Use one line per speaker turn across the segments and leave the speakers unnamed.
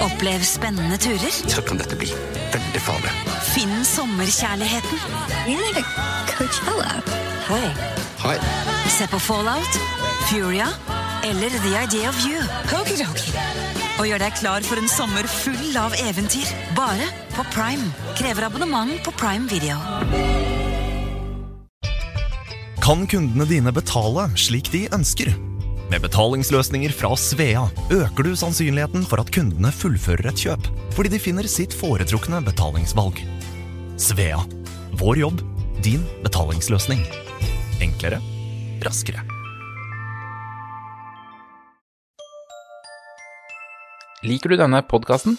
Opplev spennende turer.
Så kan dette bli veldig farlig.
Finn sommerkjærligheten. Hei.
Hei.
Se på Fallout, Furia eller The Idea of You. Og gjør deg klar for en sommer full av eventyr. Bare på Prime. Krever abonnement på Prime Video.
kan kundene dine betale slik de ønsker. Med betalingsløsninger fra Svea øker du sannsynligheten for at kundene fullfører et kjøp, fordi de finner sitt foretrukne betalingsvalg. Svea vår jobb, din betalingsløsning. Enklere, raskere.
Liker du denne podkasten?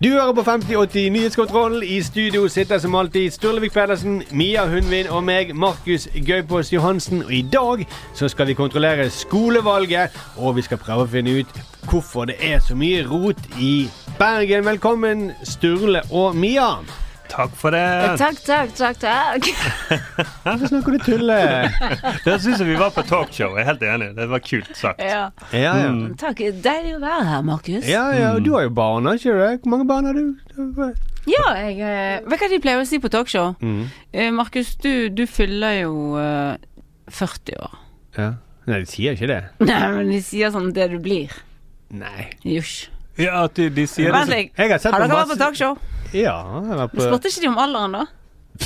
Du hører på 5080 Nyhetskontrollen. I studio sitter som alltid Sturlevik Pedersen, Mia Hundvin og meg, Markus Gaupås Johansen. Og i dag så skal vi kontrollere skolevalget, og vi skal prøve å finne ut hvorfor det er så mye rot i Bergen. Velkommen, Sturle og Mia.
Takk for det.
Eh, Takk, takk, takk. takk.
Hvorfor snakker du tulle?
Det syns jeg vi var på talkshow. Jeg er helt enig. Det var kult sagt.
Ja.
Ja, ja.
takk. Deilig å være her, Markus.
Mm. Ja, ja, og Du har jo barn, har ikke du? det? Hvor mange barn har du?
Ja, jeg eh, Vet du hva de pleier å si på talkshow?
Mm.
Eh, Markus, du, du fyller jo eh, 40 år.
Ja. Nei, de sier ikke det.
Nei, men de sier sånn det du blir.
Nei.
Josj.
Ja, at de, de sier
Vent
det
litt.
Jeg har sett
Har
på
dere vært på
masse-
talkshow?
Ja, jeg var på
Spurte ikke de om alderen, da?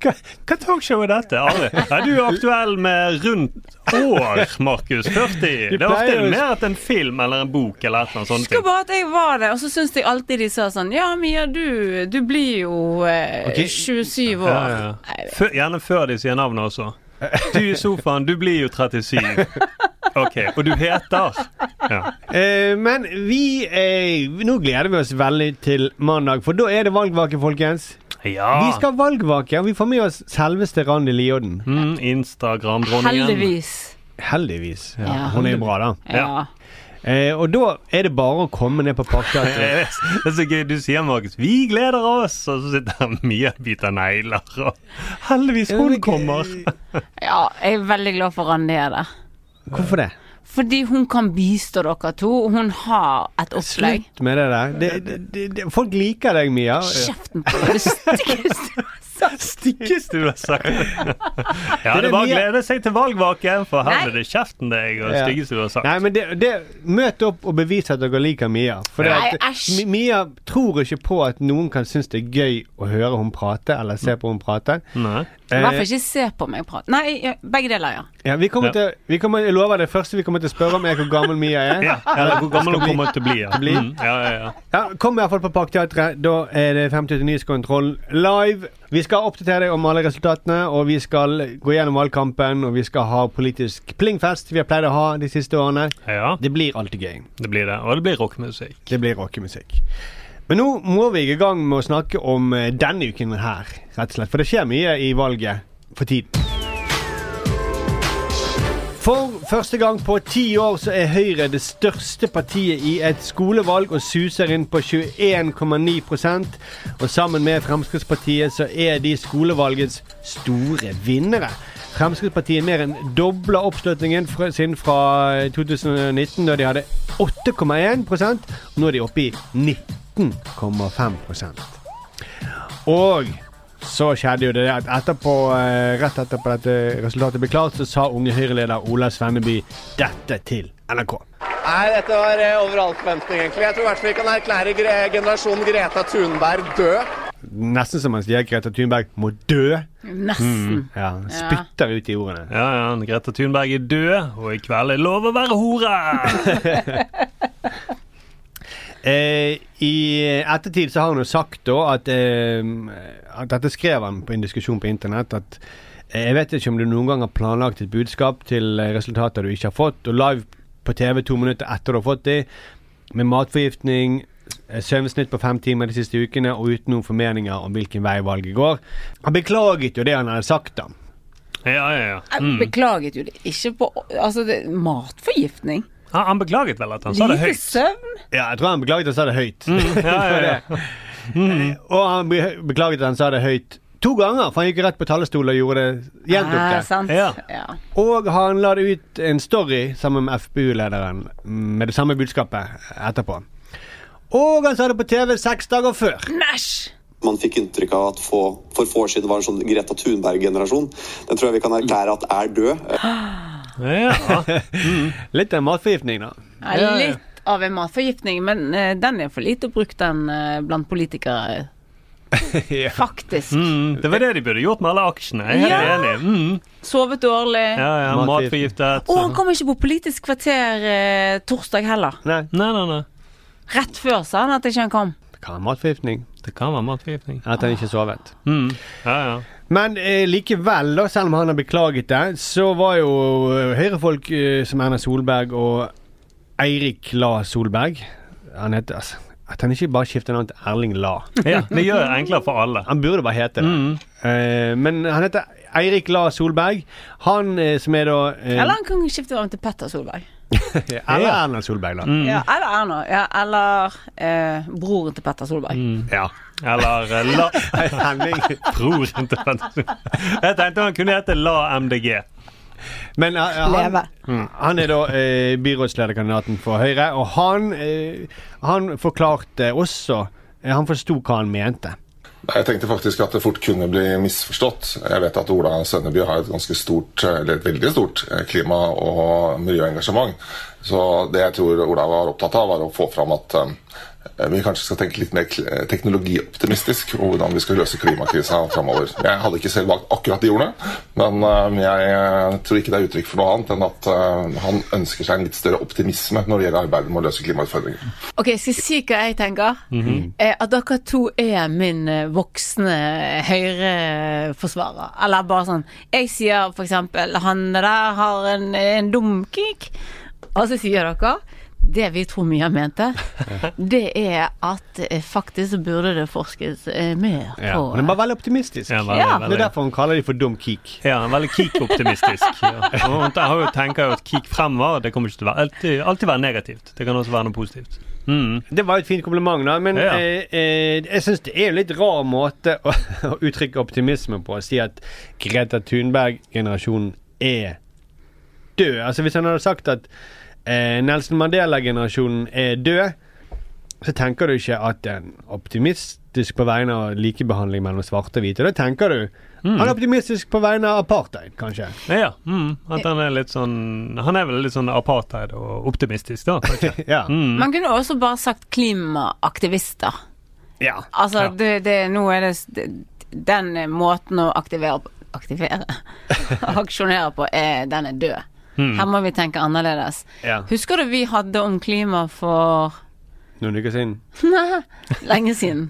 Hva, hva
Talkshow er dette, Ari. Er du aktuell med rundt år, Markus? 40? Det er ofte
pleier å-
mer at en film eller en bok eller et eller annet sånt.
Husker bare at jeg var der, og så syns jeg alltid de sa sånn Ja, Mia, du, du blir jo eh,
Ok.
27 år.
Ja, ja. Før- Gjerne før de sier navnet også. Du i sofaen, du blir jo 37. Ok, og du heter ja.
Eh, men vi eh, Nå gleder vi oss veldig til mandag, for da er det valgvake, folkens.
ja.
Vi skal valgvake, og vi får med oss selveste Randi Lioden.
mm, Instagram-dronningen.
Heldigvis.
Heldigvis.
Ja.
Hun er jo bra, da.
Ja.
Ja.
Eh, og da er det bare å komme ned på Parkteatret.
Det er så gøy. Du sier, Markus, 'vi gleder oss', og så sitter han mye og biter negler. Og heldigvis hun kommer.
ja. Jeg er veldig glad for Randi er der.
Hvorfor det?
Fordi hun kan bistå dere to. Hun har et opplegg.
Slutt med det der. Det, det, det, det, folk liker deg, Mia.
Kjeften på deg! Det styggeste.
Stikkes du har sagt. Ja,
er
det var å
mye-
glede seg til valgvaken, for her
Nei.
er det kjeften deg og
Ja.
styggeste du har sagt.
Nei, men det, det, Møt opp og bevis at dere liker Mia. For det
Nei,
at,
æsj.
Mi- Mia tror ikke på at noen kan synes det er gøy å høre hun prate, eller se på hun prate.
Nei.
I hvert
Eh,
fall ikke se på meg prate. Nei, ja, begge deler, ja.
Ja, vi kommer
Ja.
til vi kommer, Jeg lover det første vi kommer til å spørre om, er hvor gammel Mia er.
Ja, eller hvor gammel
Skal
hun
bli-
kommer til å bli. Ja.
bli?
Mm, ja, ja, ja.
Ja, Kom i hvert fall på Parkteatret. Da er det 50 Nyhetskontroll live. Vi skal oppdatere deg om alle resultatene, og vi skal gå gjennom valgkampen. Og vi skal ha politisk plingfest vi har pleid å ha de siste årene.
ja,
Det blir alltid gøy.
det blir det. Og det blir rockmusikk.
Det blir rockemusikk. Men nå må vi i gang med å snakke om eh, denne uken her, rett og slett. For det skjer mye i valget for tiden. For første gang på ti år så er Høyre det største partiet i et skolevalg og suser inn på 21,9 Og sammen med Fremskrittspartiet så er de skolevalgets store vinnere. Fremskrittspartiet mer enn dobla oppslutningen fra- sin fra 2019, da de hadde 8,1 og nå er de oppe i 19,5 Og så skjedde jo det at etterpå, eh, rett etterpå dette resultatet ble klart, så sa unge Høyre-leder Ola Svenneby dette til NRK.
Nei, dette var eh, over all forventning, egentlig. Jeg tror i hvert fall vi kan erklære gre generasjon Greta Thunberg død.
Nesten som han sier Greta Thunberg må dø.
Nesten.
Mm, Ja, han Spytter ut de ordene.
Ja, ja, Greta Thunberg er død, og i kveld er lov å være hore!
Eh, I ettertid så har han jo sagt da at, eh, at Dette skrev han på en diskusjon på internett. at eh, jeg vet ikke om du noen gang har planlagt et budskap til eh, resultater du ikke har fått, og live på TV to minutter etter du har fått de, med matforgiftning, eh, søvnsnitt på fem timer de siste ukene og uten noen formeninger om hvilken vei valget går. Han beklaget jo det han hadde sagt, da.
Ja, ja, ja.
Jeg beklaget jo det ikke på Altså, det, matforgiftning.
Han, han beklaget vel at han sa det
Lite
høyt.
søvn.
Ja, jeg tror han beklaget at han sa det høyt.
Ja, ja, ja.
Eh, Og han be- beklaget at han sa det høyt to ganger, for han gikk rett på talerstolen og gjorde det gjentok
Ja,
det.
Ah, sant.
Ja.
Ja.
Og han la det ut en story sammen med FPU-lederen med det samme budskapet etterpå. Og han sa det på TV seks dager før.
Næsj!
man fikk inntrykk av at få, for få år siden var en sånn Greta Thunberg-generasjon. Den tror jeg vi kan erklære at er død.
ja.
Litt av matforgiftning, da.
Ja, litt av en matforgiftning, men eh, den er for lite brukt, den eh, blant politikere.
Ja.
Faktisk.
Mm, det var det de burde gjort med alle aksjene. Jeg er
Ja.
helt enig. Mm.
Sovet dårlig.
Ja, ja,
Matforgiftet.
Matforgiftet.
Og han kom ikke på Politisk kvarter eh, torsdag heller.
Nei,
Nei, nei, nei.
Rett før sa han at ikke han kom.
det kan være matforgiftning.
Det kan være matforgiftning.
At han ikke sovet.
Mm. Ja, ja.
Men eh, likevel, da, selv om han har beklaget det, så var jo eh, Høyre-folk eh, som Erna Solberg og Eirik La Solberg Han heter altså At han ikke bare skifter navn til Erling La.
ja det gjør det enklere for alle.
Han burde bare hete det. Eh, men han heter Eirik La Solberg. Han eh, som er da eh,
Eller han kan skifte navn til Petter Solberg.
eller Erna Solberg, da.
Ja, eller Erna. Ja, eller eh, broren til Petter Solberg.
Ja.
Eller eh, la...
Henning.
Broren til Petter. Jeg tenkte han kunne hete La MDG.
Men eh, han,
Leve.
Mm. han er da eh, byrådslederkandidaten for Høyre, og han, eh, han forklarte også eh, Han forsto hva han mente.
Jeg tenkte faktisk at det fort kunne bli misforstått. Jeg vet at Ola Sønneby har et ganske stort, eller et veldig stort eh, klima- og miljøengasjement. Så det jeg tror Ola var opptatt av, var å få fram at eh, vi kanskje skal tenke litt mer kl- teknologioptimistisk og hvordan vi skal løse klimakrisa framover. Jeg hadde ikke selv valgt akkurat de ordene, men eh, jeg tror ikke det er uttrykk for noe annet enn at eh, han ønsker seg en litt større optimisme når det gjelder arbeidet med å løse klimautfordringer.
Ok, skal jeg si hva jeg tenker?
Mm-hmm.
eh, at dere to er min eh, voksne høyreforsvarer. Eller bare sånn Jeg sier for eksempel han der har en, en dum kik. Og så sier dere det vi tror mye mente, det er at eh, faktisk så burde det forskes eh, mer på eh,
Ja. Han er bare Mm. veldig optimistisk.
Ja, veldig,
Ja.
Det er
veldig.
derfor han kaller de for dum kik.
Ja, han er veldig Kik-optimistisk. Ja. Og han har jo- tenker jo at Kik fremover, det kommer ikke til å være alltid, alltid være negativt. Det kan også være noe positivt. Mm.
Det var et fint kompliment, da, men
Ja.
eh, eh, jeg syns det er en litt rar måte å, å uttrykke optimisme på. Å si at Greta Thunberg-generasjonen er død. Altså Hvis han hadde sagt at eh, Nelson Mandela-generasjonen er død, så tenker du ikke at en optimistisk på vegne av likebehandling mellom svarte og hvite. Da tenker du han er optimistisk på vegne av apartheid, kanskje.
Ja, mm. at han er litt sånn Han er vel litt sånn apartheid og optimistisk, da. kanskje.
Ja.
Man kunne også bare sagt klimaaktivister.
ja.
Altså,
Ja.
det, det, nå er det s- det- Den måten å aktivere på- Aktivere? Aksjonere på, er, den er død. Her må vi tenke annerledes.
Ja.
Husker du vi hadde om klima for
Noen uker siden.
lenge siden?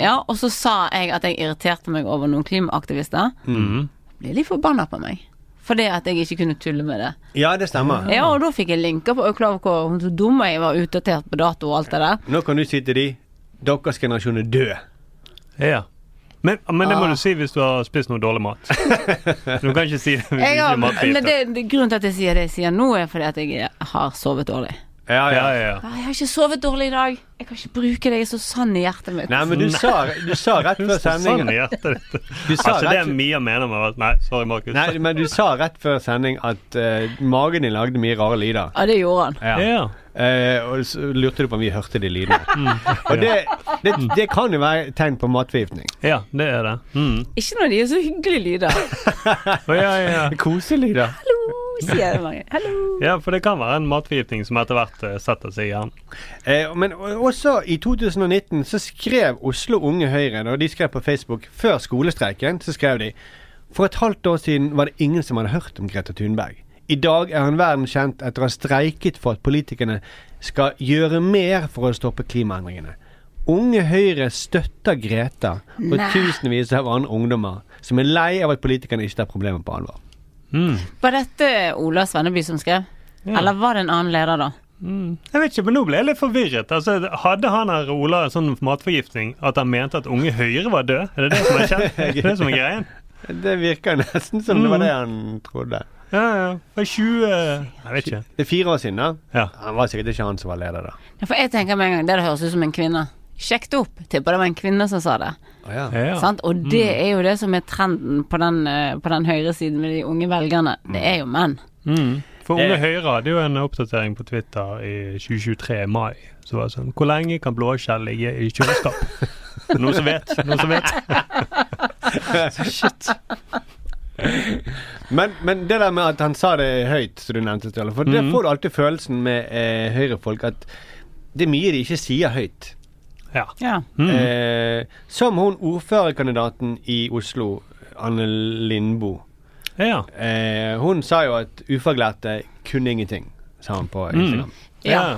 Ja, og så sa jeg at jeg irriterte meg over noen klimaaktivister. Ble litt forbanna på meg. Fordi at jeg ikke kunne tulle med det.
Ja, det stemmer.
Ja, og da fikk jeg linker på Klar over hvor hvor dum jeg var utdatert på dato og alt det der.
Nå kan du si til de deres generasjon er død.
Ja. Men, men det må du si hvis du har spist noe dårlig mat. Du kan ikke si det hvis du
Jeg
ikke
har,
er
men
matforgiftet.
det, det- grunnen til at jeg sier det jeg sier nå, er fordi at jeg har sovet dårlig.
Ja,
Ja, ja, ja.
Ah, Jeg har ikke sovet dårlig i dag. Jeg kan ikke bruke det. Jeg er så sann i hjertet mitt.
Nei, men du sa, du sa rett før
Sånn
sending
i hjertet ditt.
Du sa
Altså, det er
rett-
Mia mener med at Nei, sorry, Markus.
Nei, men du sa rett før sending at eh, magen din lagde mye rare lyder.
Ja, det gjorde han.
Ja.
Ja.
Eh, og så lurte du på om vi hørte de lydene.
Mm.
Og det, det, det kan jo være tegn på matforgiftning.
Ja, det er det. Mm.
Ikke når de er så hyggelige lyder.
Å, ja, ja, ja.
Koselyder.
Hallo, sier mange. Hallo.
ja, for det kan være en matforgiftning som etter hvert eh, setter seg i hjernen.
Eh, men også i 2019 så skrev Oslo Unge Høyre, og de skrev på Facebook før skolestreiken, så skrev de For et halvt år siden var det ingen som hadde hørt om Greta Thunberg. I dag er hun verdenskjent etter å ha streiket for at politikerne skal gjøre mer for å stoppe klimaendringene. Unge Høyre støtter Greta og
Nei.
tusenvis av andre ungdommer som er lei av at politikerne ikke tar problemet på alvor.
Var dette Ola Svenneby som skrev? Eller var det en annen leder, da?
Jeg vet ikke, men Nå ble jeg litt forvirret. Altså, hadde han her Ola sånn matforgiftning at han mente at Unge Høyre var død? Er det det som er kjent? Er det det som er greien?
Det virker nesten som det var det han trodde.
Ja, ja. Det er 20 Jeg vet ikke.
Det er fire år siden, da.
Ja.
Han var sikkert ikke han som var leder, da.
Ja, For jeg tenker med en gang, det høres ut som en kvinne. Sjekk det opp. Tipper det var en kvinne som sa det.
Ja.
Sant? Og det er jo det som er trenden på den, eh, på den høyre siden med de unge velgerne. Det er jo menn.
Mm. For
Det-
Unge Høyre hadde jo en oppdatering på Twitter i 2023 mai. Så var det sånn Hvor lenge kan blåskjell ligge i kjøleskap? Noen som vet? Noen som vet?
Men, men det der med at han sa det høyt, som du nevnte, Ståle. For det får du alltid følelsen med eh, høyrefolk at det er mye de ikke sier høyt.
Ja.
Ja.
Eh, som hun ordførerkandidaten i Oslo, Anne Lindboe.
ja.
Eh, hun sa jo at ufaglærte kunne ingenting, sa hun på Instagram.
ja.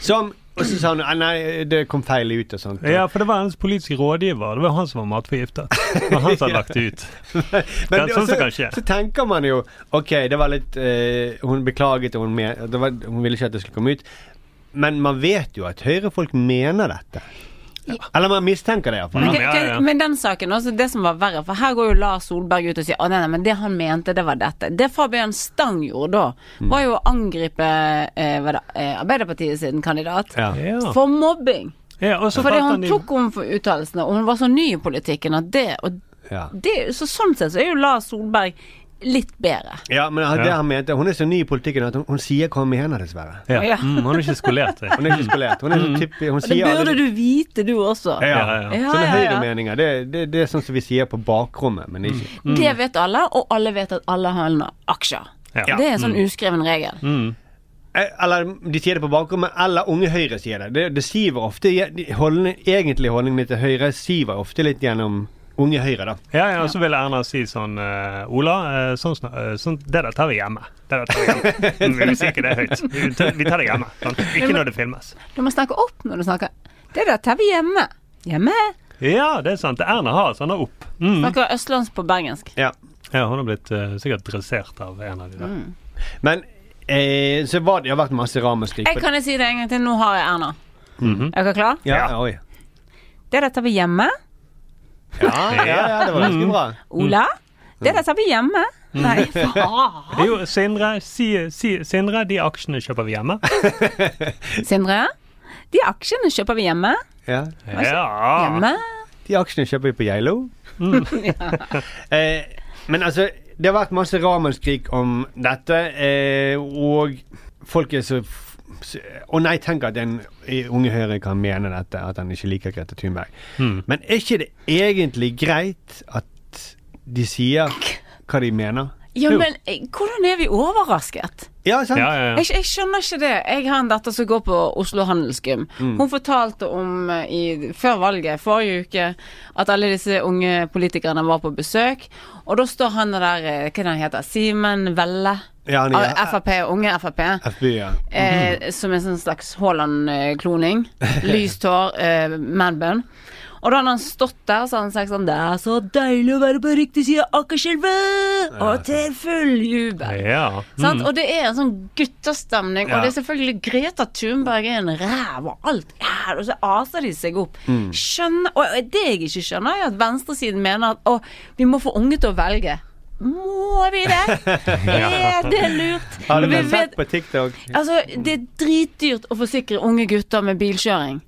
Som, og så sa hun ah, nei, det kom feil ut og sånt.
Ja, for det var hans politiske rådgiver. Det var han som var matforgiftet. Det var han som hadde lagt det ut.
Men det-
Ja, sånn
også-
som kan skje.
Så tenker man jo OK, det var litt eh, Hun beklaget, og hun, men, det var, hun ville ikke at det skulle komme ut. Men man vet jo at høyrefolk mener dette. Eller man mistenker det iallfall.
Men,
Ja, ja, ja.
men den saken også, det som var verre, for her går jo Lars Solberg ut og sier at nei, nei, men det han mente, det var dette. Det Fabian Stang gjorde da,
Mm.
var jo å angripe eh, hva da, eh, Arbeiderpartiet sin kandidat
Ja.
Ja.
for mobbing.
Ja, og så
Fordi
fant
han
de-
tok henne for uttalelsene, og hun var så ny i politikken at det, og
Ja.
det Så sånn sett så er jo Lars Solberg litt bedre.
ja, men det
Ja.
han mente Hun er så ny i politikken at hun, hun sier hva hun mener, dessverre.
Ja.
Ja.
Mm, han er ikke skolert seg.
Hun er ikke skolert. Hun er
Mm.
så typisk Hun
Og det
sier
burde du vite, du også.
ja, ja.
Ja, ja.
Ja,
Sånne
ja, ja.
høyremeninger, det, det, det er sånn som vi sier på bakrommet, men ikke
Det vet alle, og alle vet at alle handler aksjer.
Ja.
Det er en sånn
Mm.
uskreven regel.
Eh, Eller de sier det på bakrommet, eller Unge Høyre sier det. Det, det siver ofte de holdning, Egentlig holdningene til Høyre siver ofte litt gjennom Unge Høyre, da.
Ja, ja, og så vil Erna si sånn eh, Ola, eh, sånn, snak- eh, sånn, det der tar vi hjemme. Det der tar vi hjemme. Mm, Vi sier ikke det høyt. Vi tar- Vi tar det hjemme. sant? Ikke når det filmes.
Du må snakke opp når du snakker. Det der tar vi hjemme. Hjemme?
Ja, det er sant. Erna har sånne opp. Mm.
Snakker østlandsk på bergensk.
Ja.
Ja, hun har blitt eh, sikkert dressert av en av de der.
Mm.
Men eh, så var det, det har vært masse ramaskrik.
Jeg
på-
kan jo si det en gang til. Nå har jeg Erna. Er dere klar?
ja,
Ja.
ja. Oi.
Det der tar vi hjemme.
Ja, ja, ja, Mm. det var ganske bra.
Ola? Det der tar vi hjemme. Nei, faen.
Jo, Sindre, si, si, Sindre, de aksjene kjøper vi hjemme.
Sindre? De aksjene kjøper vi hjemme.
Ja.
Ja.
Hjemme?
De aksjene kjøper vi på Geilo. Mm. eh, men altså, det har vært masse ramaskrik om dette, eh, og folk er så f- s- Å nei, tenk at en i Unge Høyre kan mene dette, at han ikke liker Grete Thunberg. Men er ikke det egentlig greit at de sier hva de mener?
Ja, men eh, hvordan er vi overrasket?
Ja, sant?
Ja, ja, ja.
Jeg, jeg skjønner ikke det. Jeg har en datter som går på Oslo Handelsgym. Hun fortalte om eh, i, før valget, forrige uke, at alle disse unge politikerne var på besøk. Og da står han der, eh, hva er det han heter, Simen Velle.
Ja, han er-
Ah, Frp, unge Frp.
FB, ja.
Eh, som en sånn slags Haaland-kloning. Lyst hår, eh, manbun. Og da hadde han stått der og så hadde han sagt sånn Det er så deilig å være på riktig side av Akerselva! Og til full jubel.
Ja.
Mm.
Sant? Og det er en sånn gutterstemning,
Ja.
og det er selvfølgelig Greta Thunberg er en ræv, og alt er Og så aser de seg opp.
Mm.
Skjønner, og det jeg ikke skjønner, er at venstresiden mener at å, vi må få unge til å velge. Må vi det? Er det lurt?
Har du
Vi vet-
blitt sett på TikTok?
Altså, Det er dritdyrt å forsikre unge gutter med bilkjøring.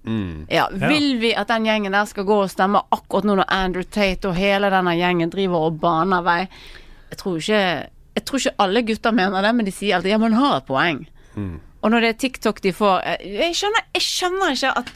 Ja, Vil vi at den gjengen der skal gå og stemme akkurat nå når Andrew Tate og hele denne gjengen driver og baner vei? Jeg tror ikke, jeg tror ikke alle gutter mener det, men de sier alltid ja, man har et poeng. Og når det er TikTok de får eh, Jeg skjønner, jeg skjønner ikke at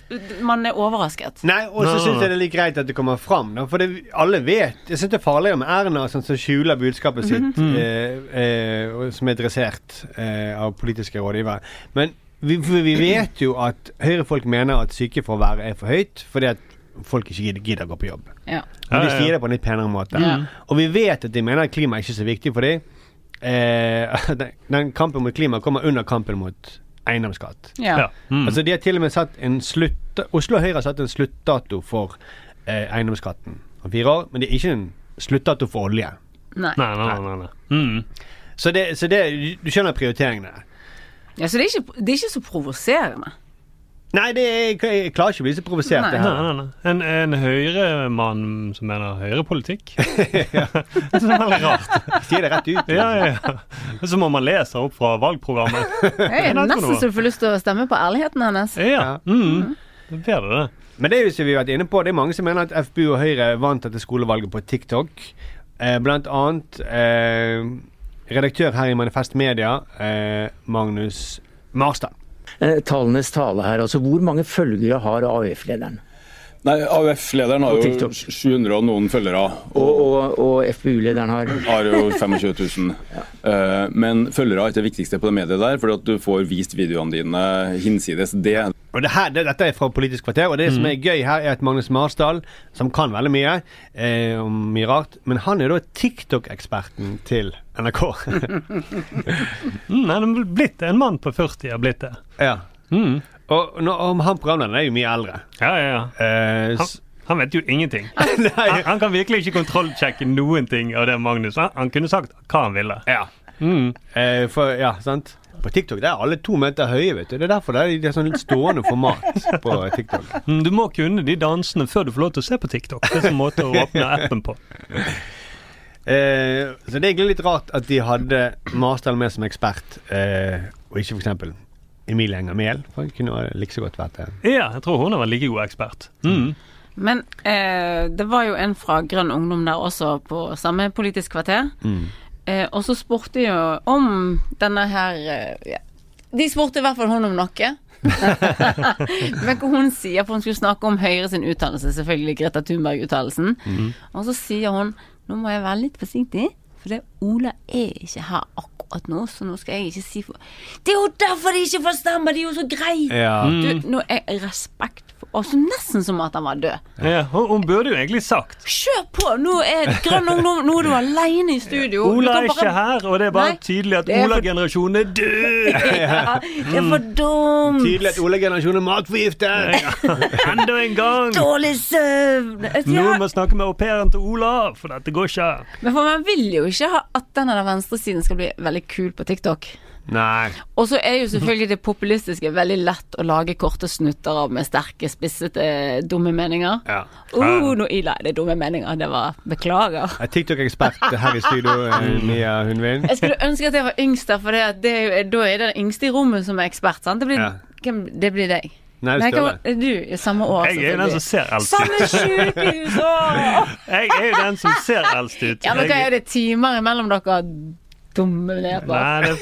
man er overrasket.
Nei, og så
Nei,
syns
nei.
jeg det er litt greit at det kommer fram, da. For det, alle vet Jeg syns det er farligere med Erna sånn, som skjuler budskapet sitt, eh, eh, og som er dressert eh, av politiske rådgivere. Men vi, for vi vet jo at høyrefolk mener at sykefravær er for høyt, fordi at folk ikke gidder, gidder å gå på jobb.
Ja.
Men de
Ja, ja, ja.
sier det på en litt penere måte. Og vi vet at de mener at klima er ikke så viktig for dem. Eh, den, den kampen mot klima kommer under kampen mot eiendomsskatt.
Ja.
Ja. Mm.
Altså De har til og med satt en slutt Oslo Høyre har satt en sluttdato for eh, eiendomsskatten om fire år, men det er ikke en sluttdato for olje.
Nei.
Nei, nei, nei. nei. Mm.
Så det, så det du skjønner prioriteringene.
Ja, så det er, ikke, det er ikke så provoserende.
Nei, det er, jeg klarer ikke å bli så provosert.
Nei.
det
Nei,
her
nei, nei. En, en høyremann som mener høyrepolitikk. det er veldig rart.
Sier det rett ut. liksom.
Ja, ja, ja. Men Så må man lese opp fra valgprogrammet.
Jeg er
Nei, det tror
nesten
jeg.
så du får lyst til å stemme på ærligheten hennes.
Ja. Mm. Da blir det det.
Men det er jo som vi har vært inne på, det er mange som mener at FpU og Høyre vant dette skolevalget på TikTok. Eh, blant annet eh, redaktør her i Manifest Media, eh, Magnus Marstad.
tallenes tale her. altså Hvor mange følgere har AUF-lederen?
Nei, AUF-lederen har jo 700 og noen følgere. Og,
Og, FpU-lederen har
har jo 25 000. Eh, Men følgere er ikke det viktigste på det mediet der, fordi at du får vist videoene dine hinsides det.
Og det her, det, Dette er fra Politisk kvarter, og det som
Mm.
er gøy her, er at Magnus Marsdal, som kan veldig mye, eh, om mye rart, men han er da TikTok-eksperten til NRK.
Mm, han er blitt en mann på 40 har blitt det.
ja.
Mm.
Og nå, om han programlederen er jo mye eldre.
Ja, ja, ja.
Eh,
Han,
s-
han vet jo ingenting.
Nei,
Han, han kan virkelig ikke kontrollsjekke noen ting av det Magnus. Han, han kunne sagt hva han ville.
ja. Eh, for, ja, sant? På TikTok der er alle to meter høye, vet du. Det er derfor det er, det er sånn litt stående format på TikTok.
Mm, Du må kunne de dansene før du får lov til å se på TikTok. Det er en måte å åpne appen på.
Eh, så det er egentlig litt rart at de hadde Marsdal med som ekspert, eh, og ikke f.eks. Emilie Enger Mehl. For hun kunne like så godt vært det.
Ja, jeg tror hun har vært like god ekspert. Mm.
Men eh, det var jo en fra Grønn Ungdom der også, på samme Politisk kvarter. Eh, og så spurte jo om denne her eh, ja. De spurte i hvert fall hun om noe. Men hva hun sier, for hun skulle snakke om Høyre sin uttalelse, selvfølgelig Greta Thunberg-uttalelsen. Og så sier hun nå må jeg være litt forsiktig, for det Ola er ikke her akkurat nå, så nå skal jeg ikke si for Det er jo derfor de ikke får stemme, de er jo så greie!
Ja.
Du, nå er jeg respekt for også Nesten som at han var død.
Ja, hun, hun burde jo egentlig sagt
Kjør på! Nå er Grønn Ungdom Nå er du alene i studio. Du
Ola
kan
er
bare-
ikke her, og det er bare
Nei,
tydelig at
det er for-
Ola-generasjonen er død!
Ja, det er for dumt.
Mm.
Tydelig at Ole-generasjonen er matforgiftet!
Enda en gang!
Dårlig søvn. Jeg sier,
Noen må snakke med au pairen til Ola, for dette går ikke.
Men for Man vil jo ikke ha at den av venstresiden skal bli veldig kul på TikTok.
Nei.
Og så er jo selvfølgelig det populistiske veldig lett å lage korte snutter av med sterke, spissete, dumme meninger.
Ja.
Oh, nå Ila, det er dumme meninger. Det var Beklager.
Er TikTok-ekspert her i studio,
Mm.
eh, Mia Hundvin.
Jeg skulle ønske at jeg var yngst der, for det at det er jo, da er det den yngste i rommet som er ekspert. sant? Det blir,
Ja.
hvem, det blir deg.
Nei,
Nei,
Støre.
hvem- du i samme år,
Jeg er jo den som ser eldst ut.
Samme sjukehusår!
Jeg er jo den som ser eldst ut.
Ja, men hva er
Jeg-
det timer imellom dere dumme never?
Nei, det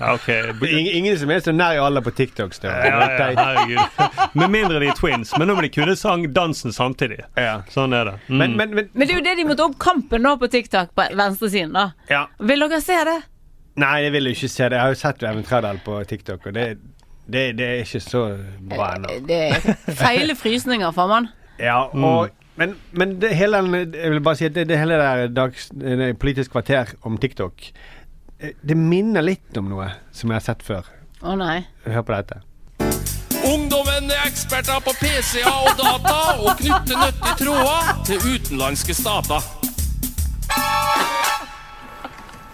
Ja, OK.
Det er ing- ingen som er så nær i alder på TikTok. Støre.
Ja, ja, herregud. Med mindre de er twins. Men nå må de kunne sang dansen samtidig.
Ja.
Sånn er det. Mm.
Men, men, men
Men det er jo det de måtte opp kampen nå på TikTok, på venstresiden, da.
ja.
Vil dere se det?
Nei, jeg vil jo ikke se det. Jeg har jo sett Even Trædal på TikTok, og det, det, det er ikke så bra ennå.
Det er feile frysninger, får man.
Ja,
Mm.
og men, men det hele den, jeg vil bare si at det, det hele der dags, det Politisk kvarter om TikTok eh, Det minner litt om noe som jeg har sett før.
Å nei.
Hør på dette.
Ungdommen er eksperter på PC-er og data og knytter nøtter tråder til utenlandske stater.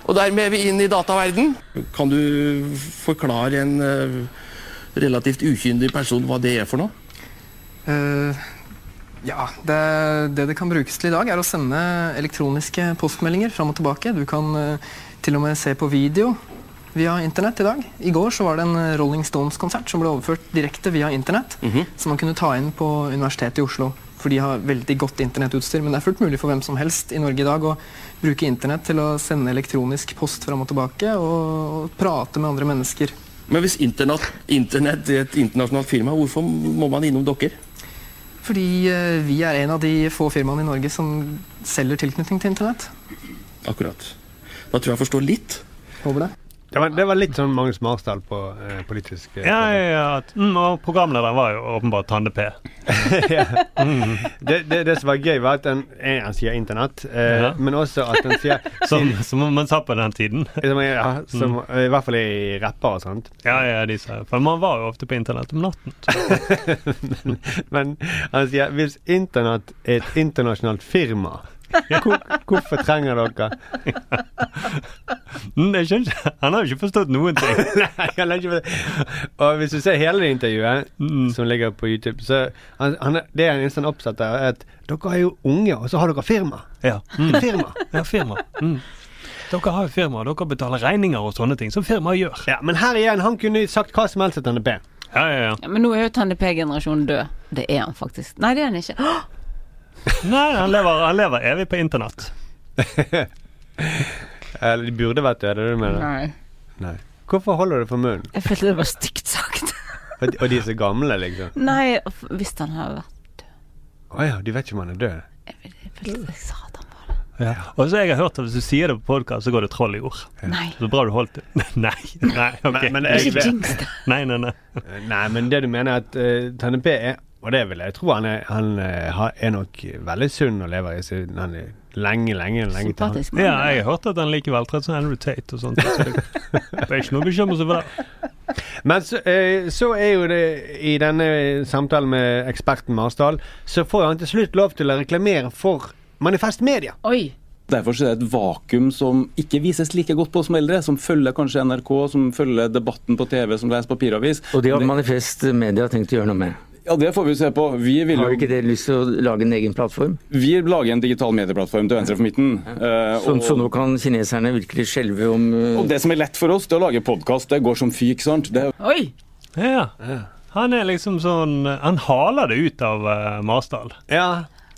Og dermed er vi inn i dataverden. Kan du forklare en eh, relativt ukyndig person hva det er for noe?
Eh, Ja, det, det det kan brukes til i dag, er å sende elektroniske postmeldinger fram og tilbake. Du kan eh, til og med se på video via internett i dag. I går så var det en eh, Rolling Stones-konsert som ble overført direkte via internett. Som man kunne ta inn på Universitetet i Oslo. For de har veldig godt internettutstyr. Men det er fullt mulig for hvem som helst i Norge i dag å bruke internett til å sende elektronisk post fram og tilbake og, og prate med andre mennesker.
Men hvis internett, internett er et internasjonalt firma, hvorfor må man innom dere?
Fordi eh, vi er en av de få firmaene i Norge som selger tilknytning til internett.
Akkurat. Da tror jeg jeg forstår litt.
Håper det.
Det var, det var litt sånn Magnus Marsdal på eh, politisk eh,
Ja, ja, ja. Mm, og programlederen var jo åpenbart Tande-P.
det, det, det som var gøy, var at han, eh, han sier internett, eh,
Ja.
men også at han sier
Som, som man sa på den tiden. Mm.
som, eh, ja, som, I hvert fall i rapper og sånt.
Ja, ja, de sa For man var jo ofte på internett om natten.
Men han sier hvis internett er et internasjonalt firma, hvor, hvorfor trenger dere
Mm, det skjønner ikke. Han har jo ikke forstått noen ting.
Nei, han har ikke fått- Og hvis du ser hele det intervjuet
Mm.
som ligger på YouTube, så han, han, er- det er en sånn oppsatt der, er at dere er jo unge, og så har dere firma.
Ja.
Et firma.
Ja, firma. Mm. Dere har jo firma, og dere betaler regninger og sånne ting, som firmaet gjør.
Ja, men her igjen, han kunne sagt hva som helst til NDP.
Ja, ja, ja.
Ja, men nå er jo Tande P-generasjonen død. Det er han faktisk. Nei, det er han ikke. Åh!
Nei, han lever, han lever evig på internett.
Eller de burde vært døde, er det du mener?
Nei.
Nei. Hvorfor holder du for munnen?
Jeg følte det var stygt sagt.
Og de- Og de er så gamle, liksom.
Nei, hvis han hadde vært
Å ja, de vet ikke om han er død.
Jeg følte jeg sa det.
Ja. Og så jeg har hørt at hvis du sier det på podkast, så går det troll i ord.
Nei.
Så bra du holdt det. Nei, nei, ok.
Men- men jeg- Eh,
Ikke jinx det.
Nei, nei, nei.
Nei, men det du mener er at uh, NDP er Og det vil jeg tro han er, han eh, har- er nok veldig sunn og lever i sin han er lenge, lenge, lenge til han-
Sympatisk mann.
Ja, jeg har hørt at han er like veltrent som Andrew Tate og sånt. Så det det er ikke noe bekymrelse for det.
Men så, eh, så er jo det I denne samtalen med eksperten Marsdal, så får han til slutt lov til å reklamere for Manifest Media.
Oi.
Derfor så er det et vakuum som ikke vises like godt på som eldre, som følger kanskje NRK, som følger debatten på TV, som leser papiravis.
Og det har Manifest Media tenkt å gjøre noe med.
Ja, det får vi jo se på. Vi vil
Har
jo
ikke dere lyst til å lage en egen plattform?
vi lager en digital medieplattform til venstre for midten. eh,
Så, så nå kan kineserne virkelig skjelve om eh,
og det som er lett for oss, det er å lage podkast. Det går som fyk, sant. Det,
Oi.
Ja. Han er liksom sånn Han haler det ut av eh, Marsdal.
Ja,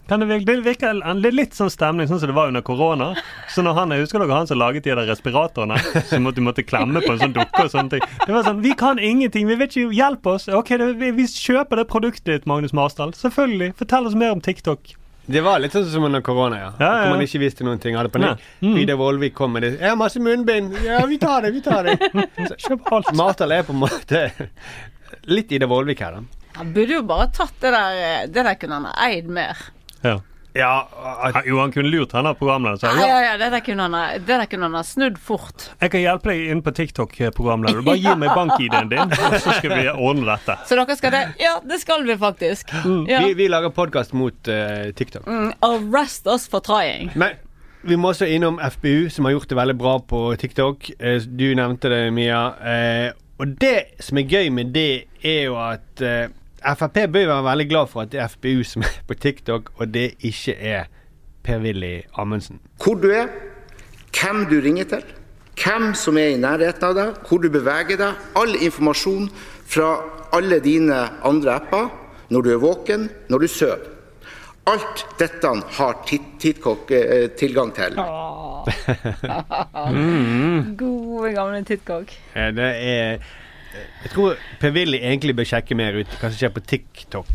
Kan det, virke, det virker han- det er litt sånn stemning, sånn som det var under korona. Så når han, jeg Husker dere han som laget de der respiratorene? Så måtte du måtte klemme på en sånn dukke og sånne ting. Det var sånn Vi kan ingenting, vi vet ikke Hjelp oss! Ok, det, vi, vi kjøper det produktet ditt, Magnus Marsdal. Selvfølgelig. Fortell oss mer om TikTok.
Det var litt sånn som under korona, ja.
Ja, ja, ja.
Hvor man ikke visste noen ting, hadde panikk.
Nei. Mm.
Vidar Vollvik kom med det. Jeg har masse munnbind! Ja, vi tar det, vi tar det.
Kjøp alt.
Marsdal er på en måte litt Ida Vollvik her, da.
Han burde jo bare tatt det der eh, Det der kunne han ha eid mer.
Ja.
Ja,
Han- Jo, han kunne lurt han av programlederen. sa,
Ja,
Ja,
ja, ja, det der kunne han ha, det der kunne han ha snudd fort.
jeg kan hjelpe deg inn på TikTok-programlederen. Bare gi meg bank-ID-en din, og så skal vi ordne dette.
Så dere skal det? Ja, det skal vi faktisk. Ja.
Mm. Vi, vi lager podkast mot eh, TikTok.
Mm, Arrest us for trying.
Men vi må også innom FBU, som har gjort det veldig bra på TikTok. Eh, Du nevnte det, Mia. Eh, Og det som er gøy med det, er jo at eh, Frp bør jo være veldig glad for at det er FBU som er på TikTok, og det ikke er Per-Willy Amundsen.
Hvor du er, hvem du ringer til, hvem som er i nærheten av deg, hvor du beveger deg. All informasjon fra alle dine andre apper når du er våken, når du sover. Alt dette har Tit- Titkok eh, tilgang til.
Gode, gamle tittkokk.
Eh, Det er Jeg tror Per-Willy egentlig bør sjekke mer ut hva som skjer på TikTok.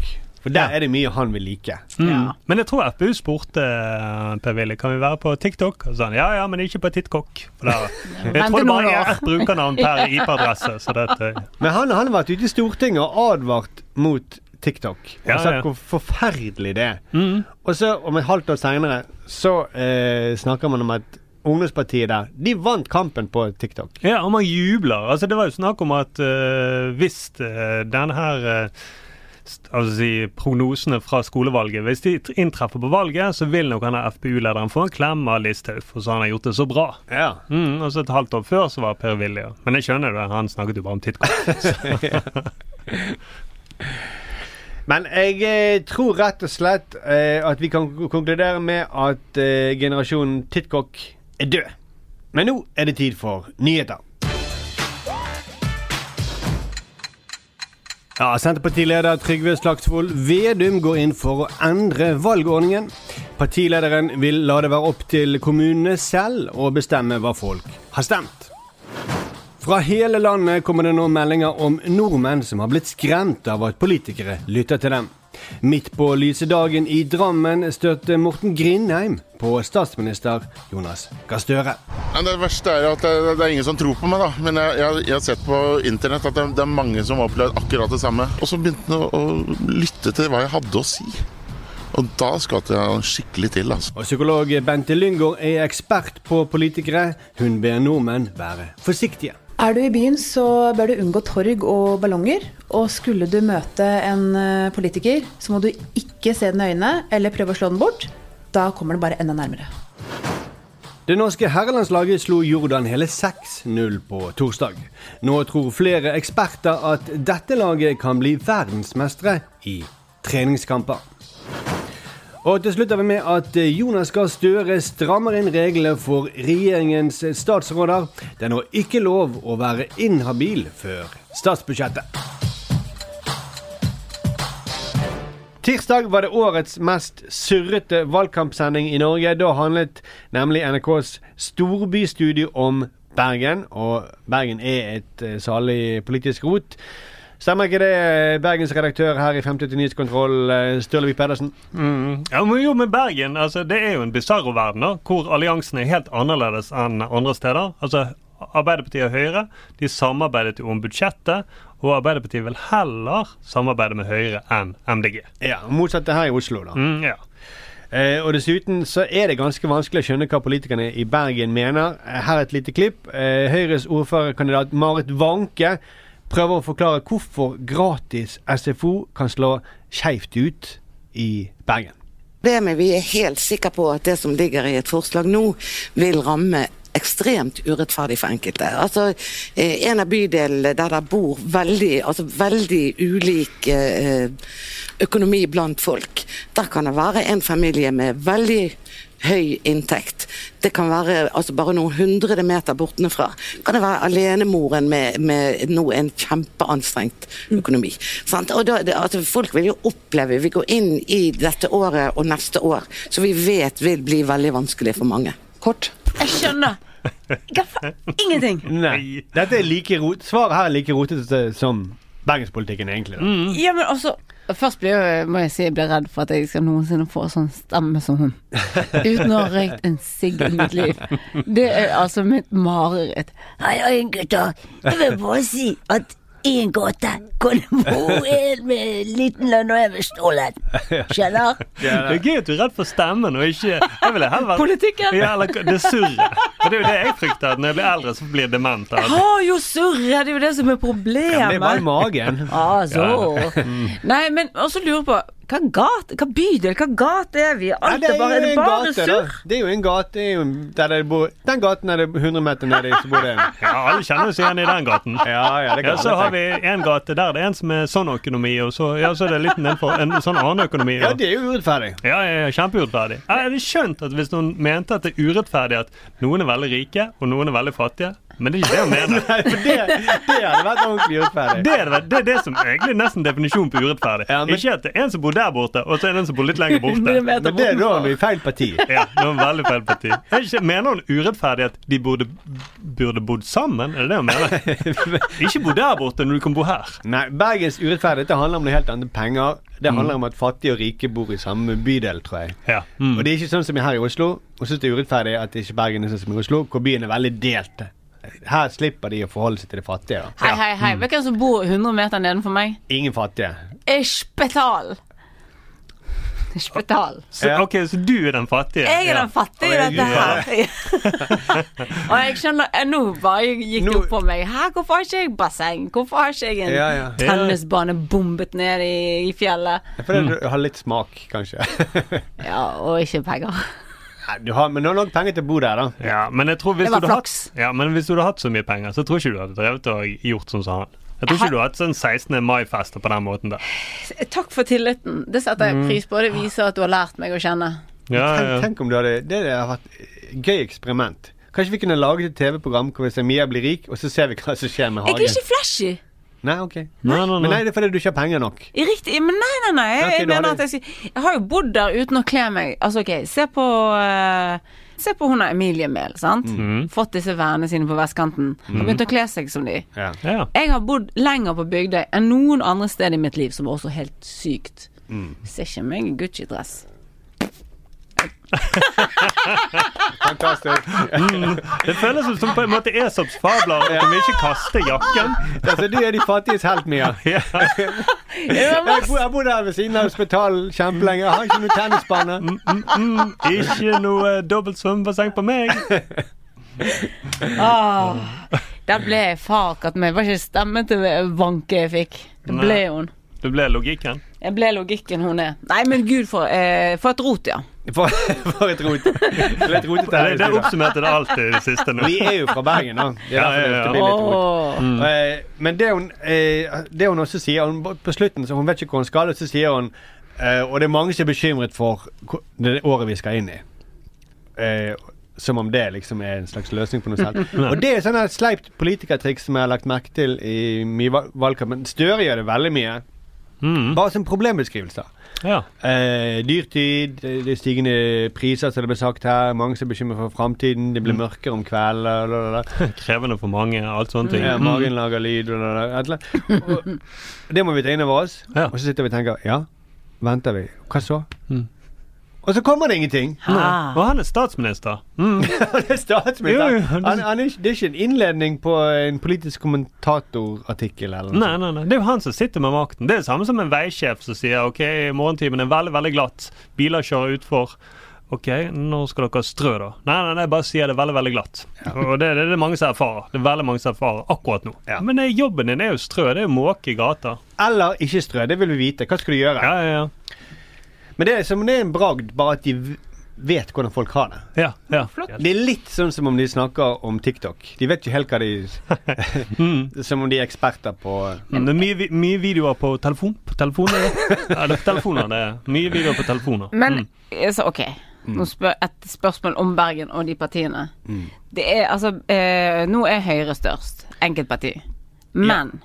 For der er det mye han vil like.
Mm. Men jeg tror FPU spurte eh, Per Willy kan vi være på TikTok. Og så sa han ja ja, men ikke på TikTok. For der, jeg
Vent
tror det
noen
bare er
år.
ett brukernavn per IP-adresse. Så dette
Men han han har vært ute i Stortinget og advart mot TikTok.
Ja,
Og sagt
ja. Mm.
hvor forferdelig det er. Og så, om et halvt år seinere, så eh, snakker man om at ungdomspartiet der, de vant kampen på TikTok.
Ja, og man jubler. Altså, det var jo snakk om at eh, hvis eh, denne her eh, st- Altså si prognosene fra skolevalget. Hvis de t- inntreffer på valget, så vil nok han her FPU-lederen få en klem av Listhaug, for så han har gjort det så bra.
Ja.
Mm, og så et halvt år før så var Per Willy ja. Men jeg skjønner det, han snakket jo bare om tidskort.
Men jeg eh, tror rett og slett eh, at vi kan k- konkludere med at eh, generasjonen TikTok er død. Men nå er det tid for nyheter. Ja, Senterpartileder Trygve Slagsvold Vedum går inn for å endre valgordningen. Partilederen vil la det være opp til kommunene selv å bestemme hva folk har stemt. Fra hele landet kommer det nå meldinger om nordmenn som har blitt skremt av at politikere lytter til dem. Midt på lyse dagen i Drammen støtte Morten Grindheim på statsminister Jonas Gahr Støre.
Men det verste er jo at det, det er ingen som tror på meg, da. Men jeg, jeg, jeg har sett på internett at det, det er mange som har opplevd akkurat det samme. Og så begynte han å, å lytte til hva jeg hadde å si. Og da skvatt jeg skikkelig til, altså.
Og psykolog Bente Lyngård er ekspert på politikere. Hun ber nordmenn være forsiktige.
Er du i byen, så bør du unngå torg og ballonger. Og skulle du møte en eh, politiker, så må du ikke se den i øynene eller prøve å slå den bort. Da kommer den bare enda nærmere.
Det norske herrelandslaget slo Jordan hele 6-0 på torsdag. Nå tror flere eksperter at dette laget kan bli verdensmestere i treningskamper. Og til slutt er vi med at Jonas Gahr Støre strammer inn reglene for regjeringens statsråder. Det er nå ikke lov å være inhabil før statsbudsjettet. Tirsdag var det årets mest surrete valgkampsending i Norge. Da handlet nemlig NRKs storbystudio om Bergen, og Bergen er et eh, salig politisk rot. Stemmer ikke det, eh, Bergens redaktør her i 50 til Nyhetskontroll, eh, Sturlevik Pedersen?
Mm. Ja, men jo, men Bergen altså, det er jo en bisarro-verden, da, hvor alliansen er helt annerledes enn andre steder. Altså, Arbeiderpartiet og Høyre de samarbeidet jo om budsjettet, og Arbeiderpartiet vil heller samarbeide med Høyre enn MDG.
Ja, Motsatt det her i Oslo, da.
Mm, ja.
Eh, og dessuten så er det ganske vanskelig å skjønne hva politikerne i Bergen mener. Eh, Her et lite klipp. Eh, Høyres ordførerkandidat Marit Wanke prøver å forklare hvorfor gratis SFO kan slå skeivt ut i Bergen.
Problemet vi er helt sikre på at det som ligger i et forslag nå, vil ramme ekstremt urettferdig for enkelte. Altså, eh, En av bydelene der det bor veldig, altså veldig ulik eh, økonomi blant folk, der kan det være en familie med veldig høy inntekt. Det kan være altså bare noen hundrede meter bortenfra. Kan det være alenemoren med, med nå en kjempeanstrengt økonomi. Sant? Og da, det, altså folk vil jo oppleve Vi går inn i dette året og neste år, som vi vet vil bli veldig vanskelig for mange. Kort.
Jeg skjønner. Ingenting.
Nei. Dette er like rot, svaret her er like rotete som bergenspolitikken, egentlig. Da.
Ja, men også Først blir jeg, må jeg si jeg blir redd for at jeg skal noensinne få sånn stemme som hun. Uten å ha røykt en sigg i mitt liv. Det er altså mitt mareritt.
Hei, hei, gutter. Jeg vil bare si at i en gate kan det bo en med liten lønn og en med stor lønn. Skjønner?
Det er gøy at du er redd for stemmen og ikke jeg ville heller vært-
Politikken.
Ja, eller det surret. For Det er jo det jeg frykter, at når jeg blir eldre, så blir jeg dement. av
Jeg
det.
har jo surret, det er jo det som er problemet.
magen.
Ah, så. Nei, men også lurer på Hva gat, hva bydel, hva gate er vi i? Alt er bare, er det bare surr.
Det er jo en gate det er jo der det bor, Den gaten er det 100 meter nedi, så bor det en.
Ja, alle kjenner seg igjen i den gaten.
Ja, ja, det kan
Ja, så
alle tenke.
har vi en gate der det er en som er sånn økonomi, og så, ja, så er det en liten en for en sånn annen økonomi. Og...
Ja, det er jo urettferdig.
Ja, ja, ja kjempeurettferdig. Jeg hadde skjønt at hvis noen mente at det er urettferdig at noen er veldig rike, og noen er veldig fattige, men det er ikke det han mener.
Nei, for det, det hadde vært ordentlig urettferdig.
Det er det, det er det som egentlig er nesten definisjonen på urettferdig. Ikke at det er en som bor der borte, og så er det en som bor litt lenger borte.
Men det er da bortenfor. vi feil parti.
Ja, det er veldig feil parti. Er Ikke, mener hun urettferdig at de burde, burde bodd sammen? Er det det hun mener? Ikke bo der borte når du kan bo her.
Nei, Bergens urettferdighet det handler om noe helt annet enn penger.
Mm.
Det handler om at fattige og rike bor i samme bydel, tror jeg.
Mm.
Og det er ikke sånn som her i Oslo. Og synes det er urettferdig at ikke Bergen er sånn som i Oslo, hvor byen er veldig delt. Her slipper de å forholde seg til de fattige. da.
Hei, hei, hei. Vet du hvem som bor 100 meter nedenfor meg?
Ingen fattige.
Ishpetal. Ishpetal.
Så, Ok, så du er den fattige?
Jeg er den fattige i dette her. Og jeg skjønner eh, Nå bare gikk det opp for meg. Hæ, hvorfor har ikke jeg basseng? Hvorfor har ikke jeg en
Ja, ja.
tennisbane bombet ned i, i fjellet?
Fordi
Mm.
du har litt smak, kanskje.
Ja, og ikke penger.
Nei, du har, men du har nok penger til å bo der, da.
Ja, men jeg tror hvis
Det var
du hadde hatt, ja, men hvis du hadde hatt så mye penger, så tror jeg ikke du hadde drevet og gjort sånn som han. Jeg tror ikke du hadde hatt sånn 16. mai-fester på den måten der.
Takk for tilliten. Det setter jeg
Mm.
pris på. Det viser at du har lært meg å kjenne.
tenk, tenk om du hadde Det hadde vært et gøy eksperiment. Kanskje vi kunne laget et TV-program hvor vi ser Mia blir rik, og så ser vi hva som skjer med
Jeg er
hagen.
ikke flashy.
Nei, ok.
nei,
Men nei, det er fordi du ikke har penger nok.
I riktig, men nei, nei, nei. Jeg,
Ok,
jeg
du har
mener at
det.
jeg, skal- jeg har jo bodd der uten å kle meg. Altså, ok, se på eh, Se på hun er Emilie Mehl, sant.
Mm.
Mhm.
Fått disse vennene sine på vestkanten. Og
Mhm.
begynt å kle seg som de.
Ja.
Jeg har bodd lenger på Bygdøy enn noen andre sted i mitt liv, som er også helt sykt.
Mm.
Ser ikke meg i Gucci-dress.
Fantastisk.
Mm, det føles som- som på en måte Esops fabler, at de ikke kaster jakken.
Altså, du er de fattiges helt, Mia.
Ja.
Jeg bor- jeg har bodd her ved siden av hospitalet kjempelenge. Jeg Har ikke noe tennisbane.
Mm. Ikke noe dobbelt svømmebasseng på meg.
Åh, Ah, der ble jeg farkatt med. Det var ikke stemmen til Vanke jeg fikk. Det ble
Nei.
hun.
Det ble logikken.
Jeg ble logikken hun er. Nei, men gud, for, eh, for et rot, ja.
For, for et rot. For et rotete her i
Det, det
studio.
oppsummerte det alt det siste nå.
Vi er jo fra Bergen, da. Det er
Ja,
derfor
ja, ja.
det blir litt rot.
Åh. Mm.
Eh, Men det hun, eh, det hun også sier hun, På slutten, så hun vet ikke hvor hun skal, og så sier hun eh, Og det er mange som er bekymret for hvor- det året vi skal inn i. Eh, Som om det liksom er en slags løsning på noe selv. Og det er sånn her sleipt politikertriks som jeg har lagt merke til i mye val- valgkamp. Men Støre gjør det veldig mye. Bare som problembeskrivelser.
Ja.
Eh, dyrtid, eh, det er stigende priser, som det ble sagt her. Mange som er bekymret for framtiden. Det blir mørkere om kvelden. la, la, la.
Krevende for mange, alt sånne ting.
Ja,
Mm.
magen lager lyd la, la, la, et eller annet. Og Det må vi ta inn over oss. Og så sitter vi og tenker ja, venter vi. Hva så? Og så kommer det ingenting.
Nei. Og han er statsminister. Mm.
Han er statsminister.
Jo, jo.
Han, han er ikke, det er ikke en innledning på en politisk kommentatorartikkel eller noe.
Nei, nei, nei. Det er jo han som sitter med makten. Det er det samme som en veisjef som sier OK, morgentimen er veldig, veldig glatt. Biler kjører utfor. OK, nå skal dere strø, da. Nei, nei, nei, bare sier det er veldig, veldig glatt. Og det, det er det mange som erfarer. Det er veldig mange som erfarer akkurat nå. Men det, er jobben din er jo strø. Det er jo måke i gata.
Eller ikke strø. Det vil vi vite. Hva skal du gjøre?
Ja, ja, ja.
Men det er, som det er en bragd, bare at de v- vet hvordan folk har det.
Ja, ja.
Det er litt sånn som om de snakker om TikTok. De vet ikke helt hva de Som om de er eksperter på
Mm, Det er mye, vi- mye videoer på telefon. På telefoner, ja. ja. Det er på telefoner, det er. Mye videoer på telefoner.
Men
Mm.
eh, så, OK, nå spør et spørsmål om Bergen og de partiene.
Mm.
Det er altså eh, Nå er Høyre størst, enkeltparti. Men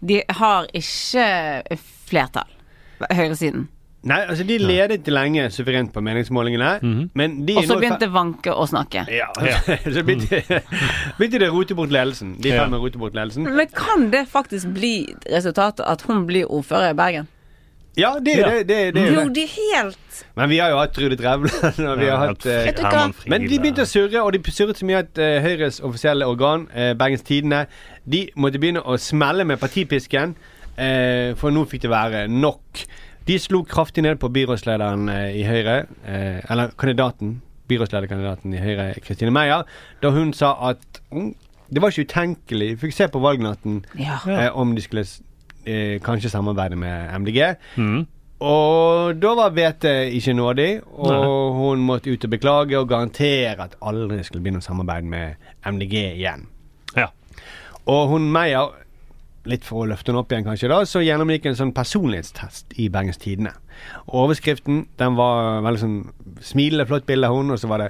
de har ikke flertall, høyresiden.
Nei, altså de ledet lenge suverent på meningsmålingene, men de er
Og så
nå i fe-
begynte Vanke å snakke.
ja, så begynte, begynte det å rote bort ledelsen. De er i ferd med å rote bort ledelsen.
Men kan det faktisk bli resultatet at hun blir ordfører i Bergen?
Ja, det er det. det, det, er
jo,
det.
de er helt
Men vi har jo hatt Trude Drevland, og vi
Ja,
har
helt
hatt eh,
Vet du hva? Herman Friele.
Men de begynte å surre, og de surret så mye at eh, Høyres offisielle organ, eh, Bergens Tidende, de måtte begynne å smelle med partipisken, eh, for nå fikk det være nok. De slo kraftig ned på byrådslederen eh, i Høyre, eh, eller kandidaten, byrådslederkandidaten i Høyre, Kristine Meyer, da hun sa at mm, det var ikke utenkelig, fikk se på valgnatten,
Ja.
eh, om de skulle eh, kanskje samarbeide med MDG. Og da var VT ikke nådig, og hun måtte ut og beklage og garantere at aldri skulle begynne å samarbeide med MDG igjen.
Ja.
Og hun Meyer, litt for å løfte henne opp igjen kanskje da, så gjennomgikk en sånn personlighetstest i Bergens Tidende. Og overskriften, den var veldig sånn smilende, flott bilde av hun, og så var det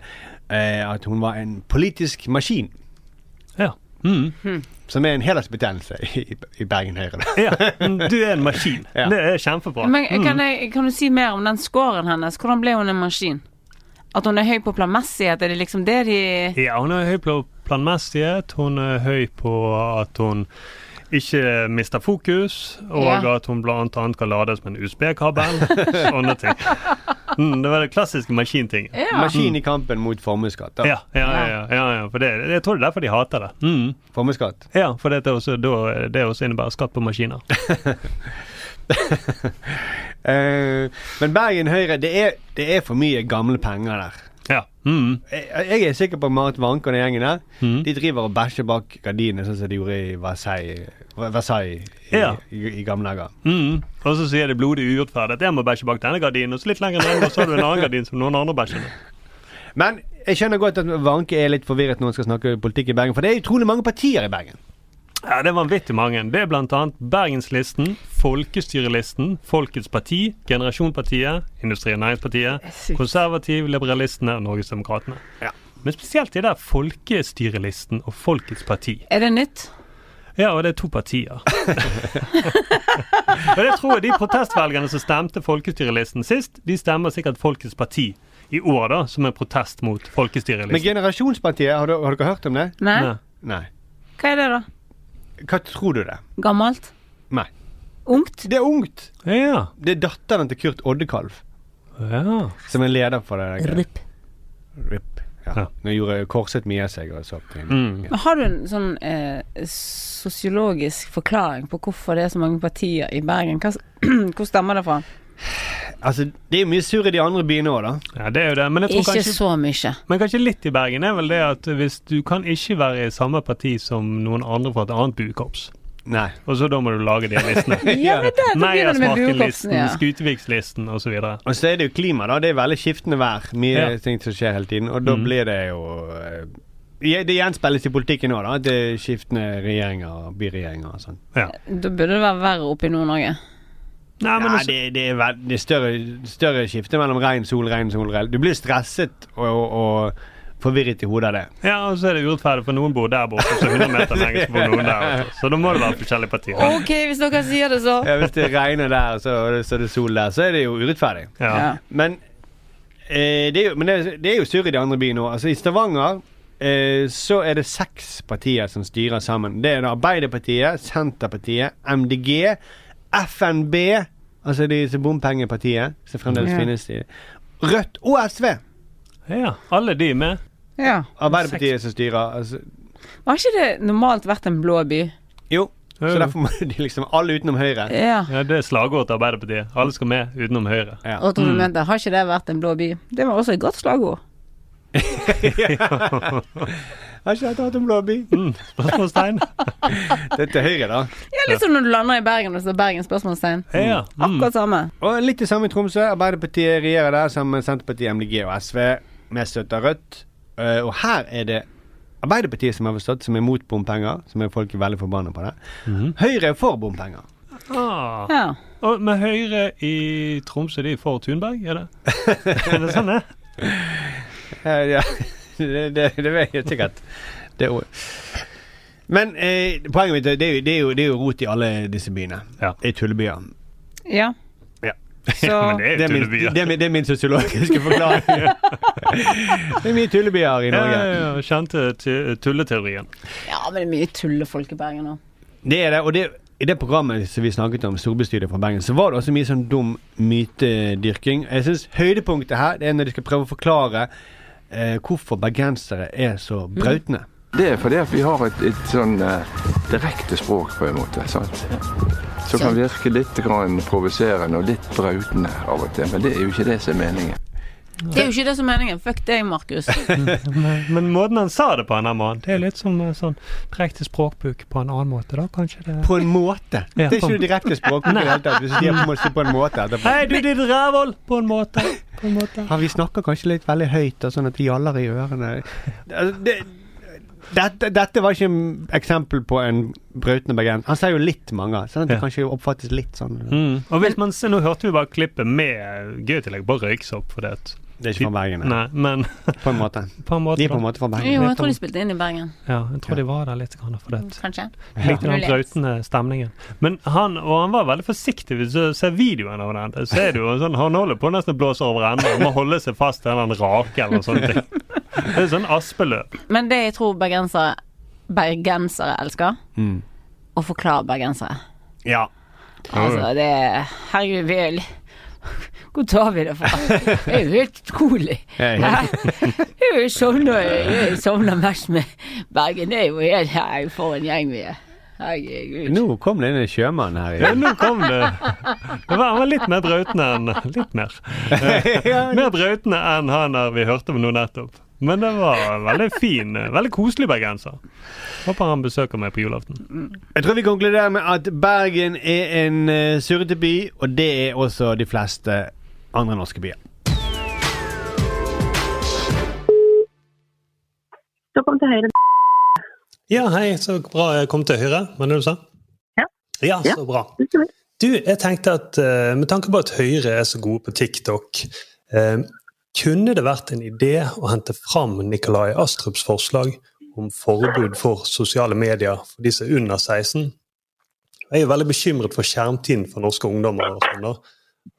eh, at hun var en politisk maskin.
Ja.
Som er en hedersbetegnelse i, i Bergen Høyre. da.
ja. mm, Du er en maskin.
Ja.
Det er kjempebra.
Men kan,
Mm.
jeg, kan du si mer om den scoren hennes? Hvordan ble hun en maskin? At hun er høy på planmessighet, er det liksom det de
Ja, hun er høy på planmessighet. Hun er høy på at hun ikke mister fokus, og
Ja.
at hun blant annet kan lades med en USB-kabel. Sånne ting. Mm, det var det klassiske maskintinget.
Ja. Maskin i kampen mot formuesskatt. da.
Ja, ja, ja, ja, ja, ja, for det, jeg tror det er derfor de hater det. Mm.
Formuesskatt?
Ja, for det, er også, da, det også innebærer skatt på maskiner.
Eh, men Bergen Høyre, det er, det er for mye gamle penger der.
Ja. Mm.
Jeg, jeg er sikker på at Marit Wanke og den gjengen der De driver og bæsjer bak gardinene, sånn som de gjorde i Versailles, Versailles i,
Ja.
i, i gamle dager.
Mm. Og så sier de blodig urettferdig at jeg må bæsje bak denne gardinen, og så litt lenger ned, og så har du en annen gardin som noen andre bæsjer med.
Men jeg skjønner godt at Wanke er litt forvirret når han skal snakke politikk i Bergen, for det er utrolig mange partier i Bergen.
Ja, det er vanvittig mange. Det er blant annet Bergenslisten, Folkestyrelisten, Folkets Parti, Generasjonpartiet, Industri- og Næringspartiet, Konservativ, Liberalistene og Norgesdemokratene. Men spesielt de der Folkestyrelisten og Folkets Parti.
Er det nytt?
Ja, og det er to partier. og det tror jeg de protestvelgerne som stemte Folkestyrelisten sist, de stemmer sikkert Folkets Parti i år, da, som en protest mot folkestyret.
Men Generasjonspartiet, har, du- har dere hørt om det?
Nei. Nei.
Nei.
Hva er det, da?
Hva tror du det?
Gammelt?
Nei.
Ungt?
Det er ungt. Det er datteren til Kurt Oddekalv. Som er leder for det. der.
RIP.
RIP. Ja. Nå gjorde korset mye av seg. Og så.
Mm.
Men har du en sånn eh, sosiologisk forklaring på hvorfor det er så mange partier i Bergen? Hva, s- hvor stammer det fra?
Altså, det er jo mye surr i de andre byene òg, da.
Ja, det er jo det. Men jeg tror
Ikke
kanskje,
så mye.
men kanskje litt i Bergen er vel det at hvis du kan ikke være i samme parti som noen andre fra et annet buekorps.
Nei.
Og så da må du lage de listene.
Ja, men det- da begynner det med
Meiersmarken-listen,
buekorpsene, ja.
Skutevikslisten osv.
Og så er det jo klima, da. Det er veldig skiftende vær. Mye
Ja.
ting som skjer hele tiden. Og da
Mm.
blir det jo eh, ja, Det gjenspeiles i politikken òg, da. At det er skiftende regjeringer og byregjeringer og sånn.
Da burde det være verre oppe i Nord-Norge.
Nei, altså,
men det, det er, vel- det er større, større skifte mellom regn, sol, regn, sol, regn. Du blir stresset og, og, og forvirret i hodet av det.
Ja, og så er det urettferdig, for noen bor der borte, så 100 meter lenger så bor noen der. borte. Så da må det være forskjellige partier.
Ok, hvis dere sier det, så.
Ja, hvis det regner der, så, så er det sol der, så er det jo urettferdig.
Ja.
Men, eh, det, er jo, men det, er- det er jo surr i de andre byene òg. Altså, I Stavanger eh, så er det seks partier som styrer sammen. Det er da Arbeiderpartiet, Senterpartiet, MDG, FNB, altså de som bompengepartiet som fremdeles
Ja.
finnes i Rødt og SV.
Ja, alle de er med.
Ja.
Arbeiderpartiet som styrer. Altså,
Har ikke det normalt vært en blå by?
jo. Så derfor må de liksom Alle utenom Høyre.
Ja.
det er slagordet til Arbeiderpartiet. Alle skal med utenom Høyre.
Og tror du mente, har ikke det vært en blå by? Det var også et godt slagord.
Har ikke dette hatt en blå by?
Mm, Spørsmålstegn.
Det er til Høyre, da.
Ja, litt som når du lander i Bergen og står Bergen spørsmålstegn.
Ja, mm.
Akkurat samme.
Og litt det samme i Tromsø. Arbeiderpartiet regjerer der sammen med Senterpartiet, MDG og SV. Mest støtte av Rødt. Eh, og her er det Arbeiderpartiet som har forstått, som er mot bompenger. Som er folk er veldig forbanna på det. Høyre er for bompenger.
Ah.
Ja.
Og med Høyre i Tromsø, de er for Thunberg, er det? er det sånn, det?
Eh, ja, det, det, det vet jeg sikkert. Det er jo- Men eh, poenget mitt er det er, jo, det, er jo, det er jo rot i alle disse byene. Det er tullebyer.
Ja.
Ja.
Så- Men det er jo
min,
tullebyer.
det, er min, det er min sosiologiske forklaring. det er mye tullebyer i
Ja,
Norge.
ja, ja, Kjente tu- tulleteorien.
Ja, men det er mye tullefolk i Bergen nå.
Det er det, og det, i det programmet som vi snakket om, storbystyret fra Bergen, så var det også mye sånn dum mytedyrking. Jeg synes høydepunktet her det er når de skal prøve å forklare eh, hvorfor bergensere er så
Mm.
brautende.
Det er fordi at vi har et, et sånn eh, direkte språk, på en måte. sant? Som kan virke litt grann provoserende og litt brautende av og til, men det er jo ikke det som er meningen.
Det er jo ikke det som er meningen. Fuck deg, Markus.
Men, men måten han sa det på, han her mannen, det er litt som eh, sånn direkte språkbruk på en annen måte, da, kanskje det
På en måte.
Ja,
det er
på-
ikke noe direkte språk. i det hele tatt, Hvis du sier på, en måte- på en måte etterpå.
Hei, du ditt rævhold! På en måte. På en måte.
Ja, vi snakker kanskje litt veldig høyt, og sånn at det gjaller i ørene. Altså, det, dette, dette var ikke et eksempel på en brautende bergenser. Han sier jo litt mange, sånn at det
Ja.
kanskje oppfattes litt sånn.
Mm. Og hvis man ser, Nå hørte vi bare klippet med gøy tillegg på røyksopp. For det, at,
Det er ikke fra Bergen,
Nei, men
På en måte.
på en måte
De er på
da.
en måte fra Bergen.
Jo, jeg tror de spilte inn i Bergen.
Ja, jeg tror de var der litt grann for det. at-
Kanskje.
Likte den
Muligens.
brautende stemningen. Men han, og han var veldig forsiktig. Hvis du ser videoen av den, så er det jo sånn, han holder på å nesten å blåse over ende. Han må holde seg fast til en eller annen rake eller sånne ting. Det er sånn aspeløp.
Men det jeg tror bergensere, bergensere elsker, å forklare bergensere.
Mm. Ja.
Altså, det er Herregud, vi er li- Hvor tar vi det fra? Det er jo helt utrolig.
Hei.
Hæ? Jeg sovner, sånn jeg sovner mest med Bergen. Det er jo helt Hei, for en gjeng vi er. Herregud.
Nå kom det inn en sjømann her.
Ja, nå kom det. Det var, han var litt mer brautende enn Litt mer. Eh, Mer brautende enn han der vi hørte om nå nettopp. Men det var en veldig fin, eh, veldig koselig bergenser. Håper han besøker meg på julaften.
Jeg tror vi konkluderer med at Bergen er en eh, surrete by, og det er også de fleste andre norske byer.
Så kom til høyre.
Ja, hei, så bra jeg kom til Høyre, var det det du sa?
Ja.
Ja, så bra. Du, jeg tenkte at eh, med tanke på at Høyre er så gode på TikTok, eh, kunne det vært en idé å hente fram Nikolai Astrups forslag om forbud for sosiale medier for de som er under 16? Jeg er veldig bekymret for skjermtiden for norske ungdommer. og sånn da.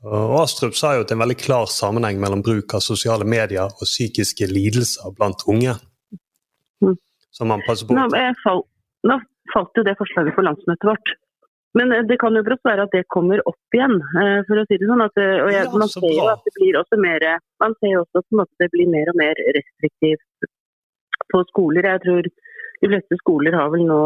Og Astrup sa jo at det er en veldig klar sammenheng mellom bruk av sosiale medier og psykiske lidelser blant unge. Som man passer på.
Nå, eh, fall, nå falt jo det forslaget på landsmøtet vårt. Men eh, det kan jo brått være at det kommer opp igjen, eh, for å si det sånn. At, eh, og jeg,
Ja,
man
så
ser jo
bra.
at det blir også mer eh, Man ser jo også at på en måte, det blir mer og mer restriktivt på skoler. Jeg tror de fleste skoler har vel nå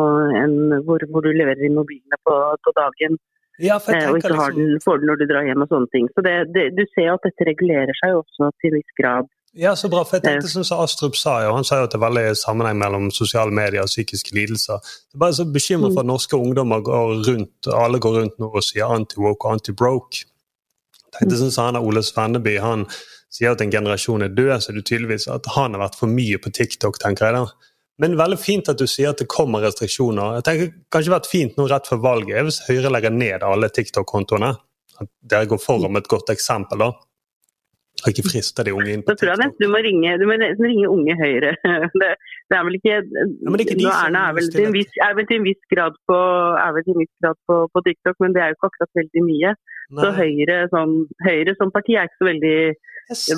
en hvor, hvor du leverer inn mobilene på, på dagen.
Ja, for jeg
eh, og
tenker
ikke har
liksom-
den, får den når du drar hjem og sånne ting. Så det, det, du ser jo at dette regulerer seg jo også til en viss grad.
Ja, så bra. For jeg
Eh.
tenkte som så Astrup sa jo, han sa jo at det er veldig sammenheng mellom sosiale medier og psykiske lidelser. Jeg er bare så bekymret
Mm.
for at norske ungdommer går rundt, alle går rundt nå og sier anti-woke og anti-broke. Jeg
Mm.
tenkte sånn som han av Ole Svenneby, han sier at en generasjon er død, så det er tydeligvis at han har vært for mye på TikTok, tenker jeg da. Men veldig fint at du sier at det kommer restriksjoner. Jeg tenker kanskje vært fint nå rett før valget hvis Høyre legger ned alle TikTok-kontoene. At dere går foran med et godt eksempel, da. Og ikke frister de unge inn på
Da tror jeg nesten du må ringe, du må nesten ringe Unge Høyre. Det, det er vel ikke,
men det er ikke
Nå
de som
Erna er vel,
stiller
til en viss, er vel til en viss grad, på, er vel til en viss grad på, på TikTok, men det er jo ikke akkurat veldig mye. Så
Nei.
Høyre, sånn, Høyre som parti er ikke så veldig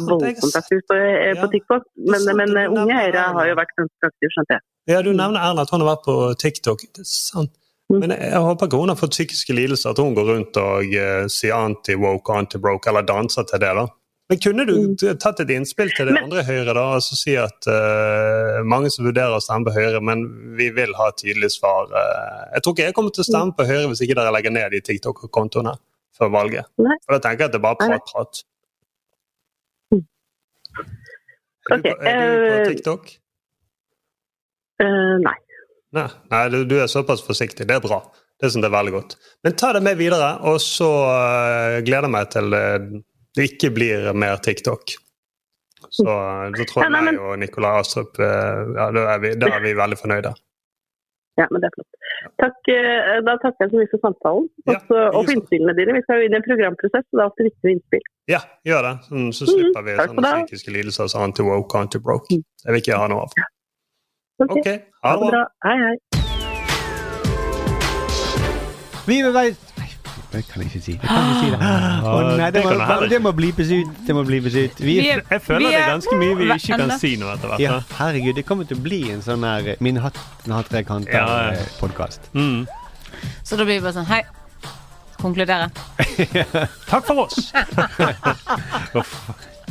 voldsomt aktivt på, eh, på TikTok. Men, men eh, Unge Høyre har jo vært ganske aktiv, skjønte jeg.
Ja, Du nevner Erna at hun har vært på TikTok. Det er sant.
Mm.
Men jeg jeg håper ikke hun har fått psykiske lidelser, at hun går rundt og eh, sier anti-woke og anti-broke, eller danser til det. da. Men kunne du
Mm.
t- tatt et innspill til det andre Høyre, da, og så si at eh, mange som vurderer å stemme på Høyre, men vi vil ha et tydelig svar. eh, jeg tror ikke jeg kommer til å
Mm.
stemme på Høyre hvis ikke dere legger ned de TikTok-kontoene før valget.
Nei. Hm.
For da tenker jeg at det er bare prat-prat. Er, du på- er du
eh,
på TikTok?
Eh, nei.
Nei, nei du, du er såpass forsiktig. Det er bra. Det synes jeg er veldig godt. Men ta det med videre, og så eh, gleder jeg meg til eh, det ikke blir mer TikTok. Så, så tror jeg
Ja, nei, men-
meg og Nikolai Astrup eh, ja, da, er vi, da er vi veldig fornøyde.
Ja, men det er flott. Takk, eh, da takker jeg så mye for samtalen og
eh,
så- og for innspillene dine. Vi skal jo inn i en programprosess, så det er alltid viktig med innspill.
Ja, gjør det. Sånn, så slipper vi
takk for
sånne psykiske lidelser som anti-woke og anti-broke. Det vil ikke jeg ha noe av.
Ok,
ha det bra.
Hei, hei.
Vi er vei
Det kan jeg ikke si.
Kan ikke si det. Å nei, det,
Ah, Det kan jeg
må,
heller
det må blipes ut. Det må blipes ut.
Vi er- Jeg føler vi det er er ganske mye vi ikke kan si nå etter hvert,
Ja,
da.
herregud, det kommer til å bli en sånn her eh, Min hatt eh, den har tre
Ja, ja.
kanter-podkast.
Mm.
Så da blir vi bare sånn Hei. Konkludere.
Takk for oss!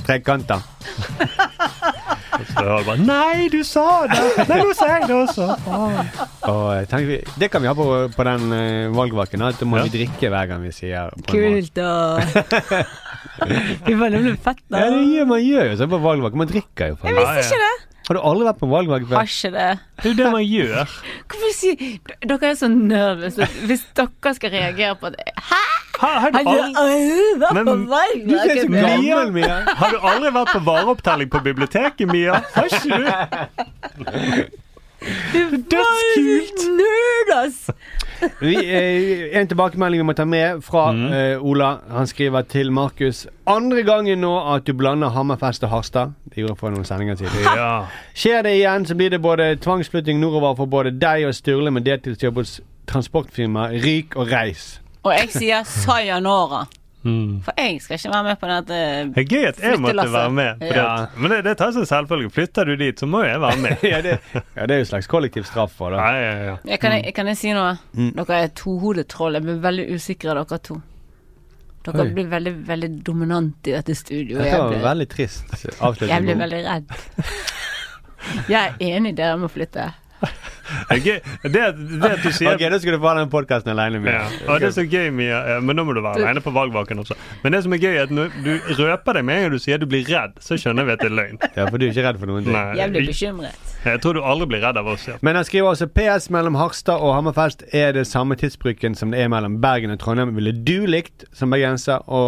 Trekanter.
Nei, du sa det! Nei, nå sier jeg det også! Faen.
Og eh, tenk, vi- det kan vi ha på, på den eh, valgvaken. At da må vi drikke hver gang vi sier på en
Kult,
måte.
da. Vi bare det blir fett, da.
Ja, det gjør, man gjør jo sånn på valgvaken. Man drikker jo. faen.
Jeg visste ikke det.
Har du aldri vært på valgvakt
Har ikke det.
Det er jo det man gjør.
Hvorfor sier D- Dere er så nervøse hvis dere skal reagere på det. Hæ?
Ah, Har du
aldri vært på valg?
Mia. Har du aldri vært på vareopptelling på biblioteket, Mia? Har ikke du?
Dødskult! Nerd, ass!
Vi, eh, en tilbakemelding vi må ta med fra eh, Ola. Han skriver til Markus. Andre gangen nå at du blander Hammerfest og Harstad. Det gjorde jeg for noen sendinger siden.
Ja.
Skjer det igjen, så blir det både tvangsflytting nordover for både deg og Sturle med deltidsjobb hos transportfirmaet Ryk og Reis.
Og jeg sier sayonara. For jeg skal ikke være med på dette
Mm. Det er gøy at jeg måtte
flyttelasset.
være med. På
Ja.
det. Men det, det tar seg selvfølgelig. Flytter du dit, så må jeg være med.
ja, det, er jo en slags kollektiv straff for det.
Ja, ja, ja.
Ja, kan, jeg, kan jeg si noe?
Mm.
Dere er tohodet troll. Jeg blir veldig usikker av dere to. Dere
Oi.
blir veldig veldig dominante i dette studioet.
Dette var
Jeg
en
blir,
veldig trist avslutning.
jeg blir veldig redd. Jeg er enig i dere med å flytte.
Det, er gøy- det, det at du sier
Ok, da skal du få ha den podkasten aleine, Mia.
Ja. Og det som er gøy, Mia, eh, men nå må du være alene på valgvaken også. Men det som er gøy, er at når du røper deg med en gang du sier du blir redd, så skjønner vi at det er løgn.
Ja, for du er ikke redd for noen ting.
Jeg blir bekymret.
Jeg tror du aldri blir redd av oss. Ja.
Men han skriver også PS mellom Harstad og Hammerfest er det samme tidsbruken som det er mellom Bergen og Trondheim. Ville du likt som bergenser å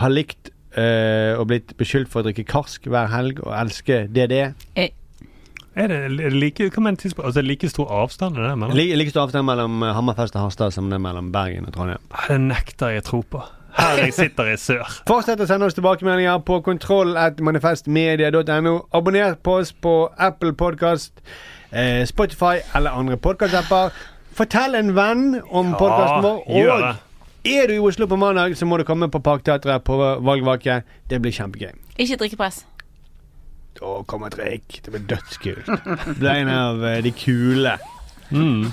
ha likt øh, og blitt beskyldt for å drikke karsk hver helg og elske DDE?
Er det, er det like, hva mener tidspunkt? Altså, er det like stor avstand i det mellom?
Lik, likes du avstand mellom øh, Hammerfest og Harstad som det er mellom Bergen og Trondheim?
Det nekter jeg å tro på. Her jeg sitter i sør.
Fortsett å sende oss tilbakemeldinger på kontroll.manifestmedia.no. Abonner på oss på Apple Podcast, eh, Spotify eller andre podkastapper. Fortell en venn om
Ja,
podkasten vår,
gjør
og
det.
Er du i Oslo på mandag, så må du komme på Parkteatret på valgvake. Det blir kjempegøy.
Ikke drikkepress.
Å, kom og drikk. Det blir dødskult. Ble en av eh, de kule.
Mm.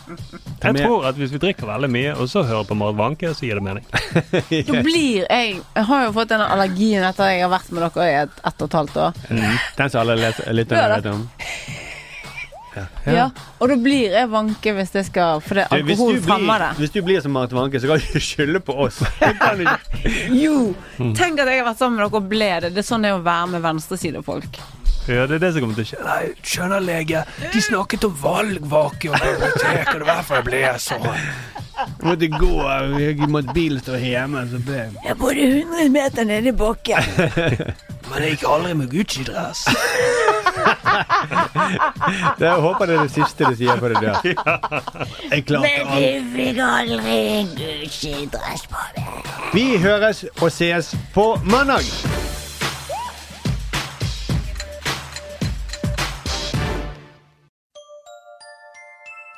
Ta
Jeg
med-
tror at hvis vi drikker veldig mye, og så hører på Marit Wanke, så gir det mening.
Da blir jeg Jeg har jo fått denne allergien etter at jeg har vært med dere i et, ett og et halvt år.
Mm. Den som alle let- lytterne
Ja, da.
vet om.
Ja. Og da blir jeg vanke hvis jeg skal Fordi
Du, hvis,
alkohol
du
fremmer
blir,
det.
hvis du blir som Marit Wanke, så kan du ikke skylde på oss. Det kan du ikke.
Jo!
Mm.
Tenk at jeg har vært sammen med dere og ble det. Det er sånn det er å være med venstresidefolk.
Ja, det er det som kommer til å skje. Nei, skjønner lege. De snakket om valgvake og bibliotek, og det var derfor jeg ble sånn.
Jeg måtte gå, jeg måtte bilen stå hjemme. Så ble
Jeg bodde 100 meter nede i bakken.
Men jeg gikk aldri med Gucci-dress.
Det- Jeg håper det er det siste du sier før du dør. Jeg klarte
Men
alt.
du fikk aldri en Gucci-dress på deg.
Vi høres og sees på mandag.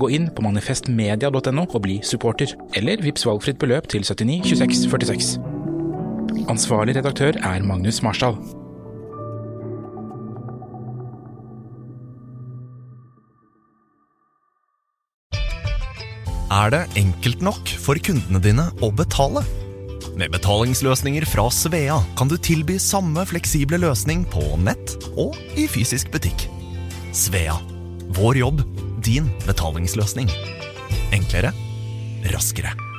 Gå inn på manifestmedia.no og bli supporter, eller vips valgfritt beløp til 79 26 46. Ansvarlig redaktør er Magnus Marsdal.
Er det enkelt nok for kundene dine å betale? Med betalingsløsninger fra Svea kan du tilby samme fleksible løsning på nett og i fysisk butikk. Svea vår jobb, din betalingsløsning. Enklere, raskere.